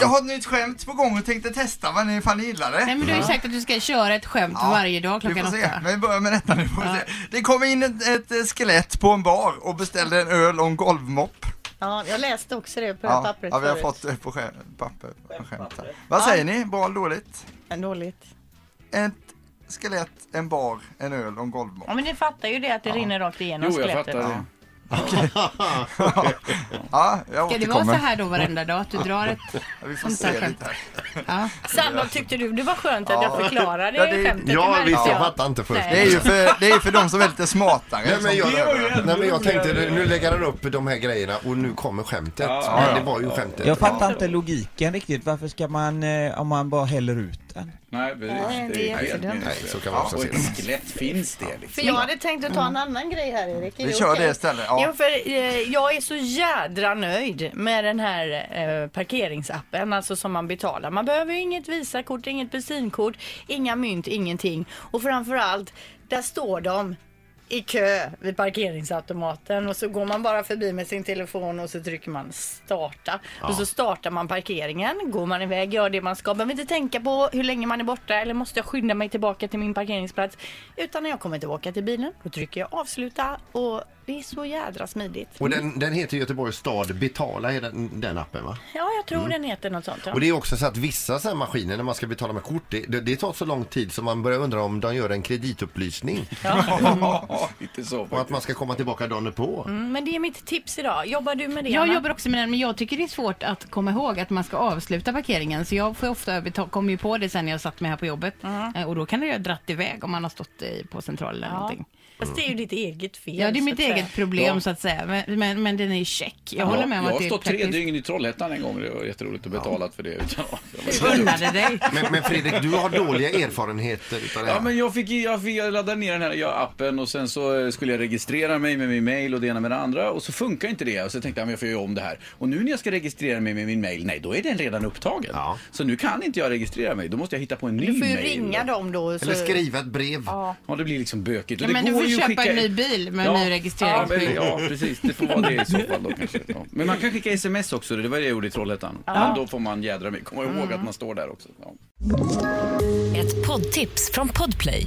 jag har ett nytt skämt på gång och tänkte testa vad ni, ifall ni gillar det. Nej men du har ju sagt att du ska köra ett skämt varje dag Vi klockan får se, åtta. men vi börjar med detta nu. Får vi Ja. se. Det kom in ett, ett eh, skelett på en bar och beställde en öl och en golvmopp. Ja, jag läste också det på det här Ja, pappret ja, vi har förut. fått det på skäm- papper. Skämt här. Vad säger ni? Bra eller dåligt? Men dåligt. Ett skelett, en bar, en öl och en golvmopp. Ja men ni fattar ju det att det rinner rakt igenom Jo, jag skelettet. fattar det. Ja, jag Ska det vara så återkommer. här då varenda dag? Att du drar ett... Ja, Vi får Sånt där se skämt. lite här. Ja. Sandra, tyckte du det var skönt att jag förklarade Ja, det- skämtet? Det Ja, märkte visst, jag jag. fattar inte först. Det är ju för, det är för de som är lite smartare. Alltså, Nej men, som- jag, nej men jag tänkte, nu lägger han upp de här grejerna och nu kommer skämtet. men det var ju skämtet. Jag fattar inte logiken riktigt. Varför ska man, eh, om man bara häller ut den? Nej, precis. Nej, det är för dumt. Nej, så kan man också Och se ett det. skelett finns det liksom. För jag hade tänkt att ta en annan grej här Erik. Är Vi det kör okej? det istället. Jo, Ja. för eh, jag är så jädra nöjd med den här eh, parkeringsappen, alltså som man betalar. Man behöver ju inget Visakort, inget bensinkort, inga mynt, ingenting. Och framförallt, där står de i kö vid parkeringsautomaten och så går man bara förbi med sin telefon och så trycker man starta. Och så startar man parkeringen, går man iväg, gör det man ska. Behöver inte tänka på hur länge man är borta eller måste jag skynda mig tillbaka till min parkeringsplats. Utan när jag kommer tillbaka till bilen, då trycker jag avsluta och det är så jädra smidigt. Och den, den heter Göteborgs stad Betala, är den, den appen va? Ja, jag tror Mm. den heter något sånt. Ja. Och det är också så att vissa så här maskiner när man ska betala med kort, det, det, det tar så lång tid så man börjar undra om de gör en kreditupplysning Ja, inte så och att faktiskt. man ska komma tillbaka dagen på. Mm, Men det är mitt tips idag. Jobbar du med det? Jag Anna? jobbar också med den, men jag tycker det är svårt att komma ihåg att man ska avsluta parkeringen. Så jag får ofta överta- kommer ju på det sen när jag satt mig här på jobbet. Eh, Och då kan det ju ha dratt iväg om man har stått i- på centralen eller Ja. någonting. Fast det är ju ditt eget fel. Ja, det är så mitt att säga. eget problem Ja. så att säga. Men, men, men den är ju check. Jag håller med om att jag har det är stått tre praktiskt. dygn i Trollhättan en gång och det var jätteroligt att betala för det. Utan, Unnade dig. Men, men Fredrik, du har dåliga erfarenheter utav det Ja, här. men jag fick, jag fick jag laddade ner den här ja, appen och sen så eh, skulle jag registrera mig med min mail och det ena med det andra och så funkar inte det. Och så tänkte jag, men jag får göra om det här. Och nu när jag ska registrera mig med min mail, nej då är den redan upptagen. Ja. Så nu kan inte jag registrera mig, då måste jag hitta på en ny Du mail. får ju ringa dem då. Så... Eller skriva ett brev. Ja, det blir liksom bökigt. Och Ja, det men du går får ju att köpa en skicka- ny bil med ny ja, registreringsskyldighet. men, ja, precis. Det får vara det i så fall då kanske. Ja. Men man kan skicka sms också, det var det jag gjorde i Trollhättan. Men då får man jädra mig komma ihåg Mm. att man står där också. Ja. Ett poddtips från Podplay.